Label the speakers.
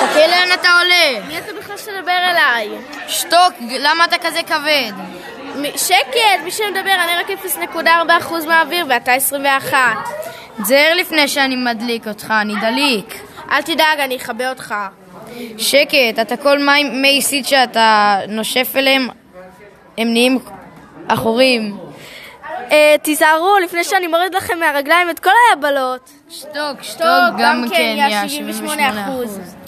Speaker 1: אוקיי, עולה?
Speaker 2: מי אתה בכלל שתדבר אליי?
Speaker 1: שתוק, למה אתה כזה כבד?
Speaker 2: מ- שקט, מי שמדבר, אני רק 0.4% מהאוויר ואתה 21.
Speaker 1: תזהר לפני שאני מדליק אותך, אני דליק.
Speaker 2: אל תדאג, אני אכבה אותך.
Speaker 1: שקט, אתה כל מי, מי סיד שאתה נושף אליהם, הם נהיים עכורים.
Speaker 2: אה, תיזהרו, לפני שאני מוריד לכם מהרגליים את כל היבלות. כן,
Speaker 1: שתוק, שתוק,
Speaker 2: טוב, גם כן, יש 78%.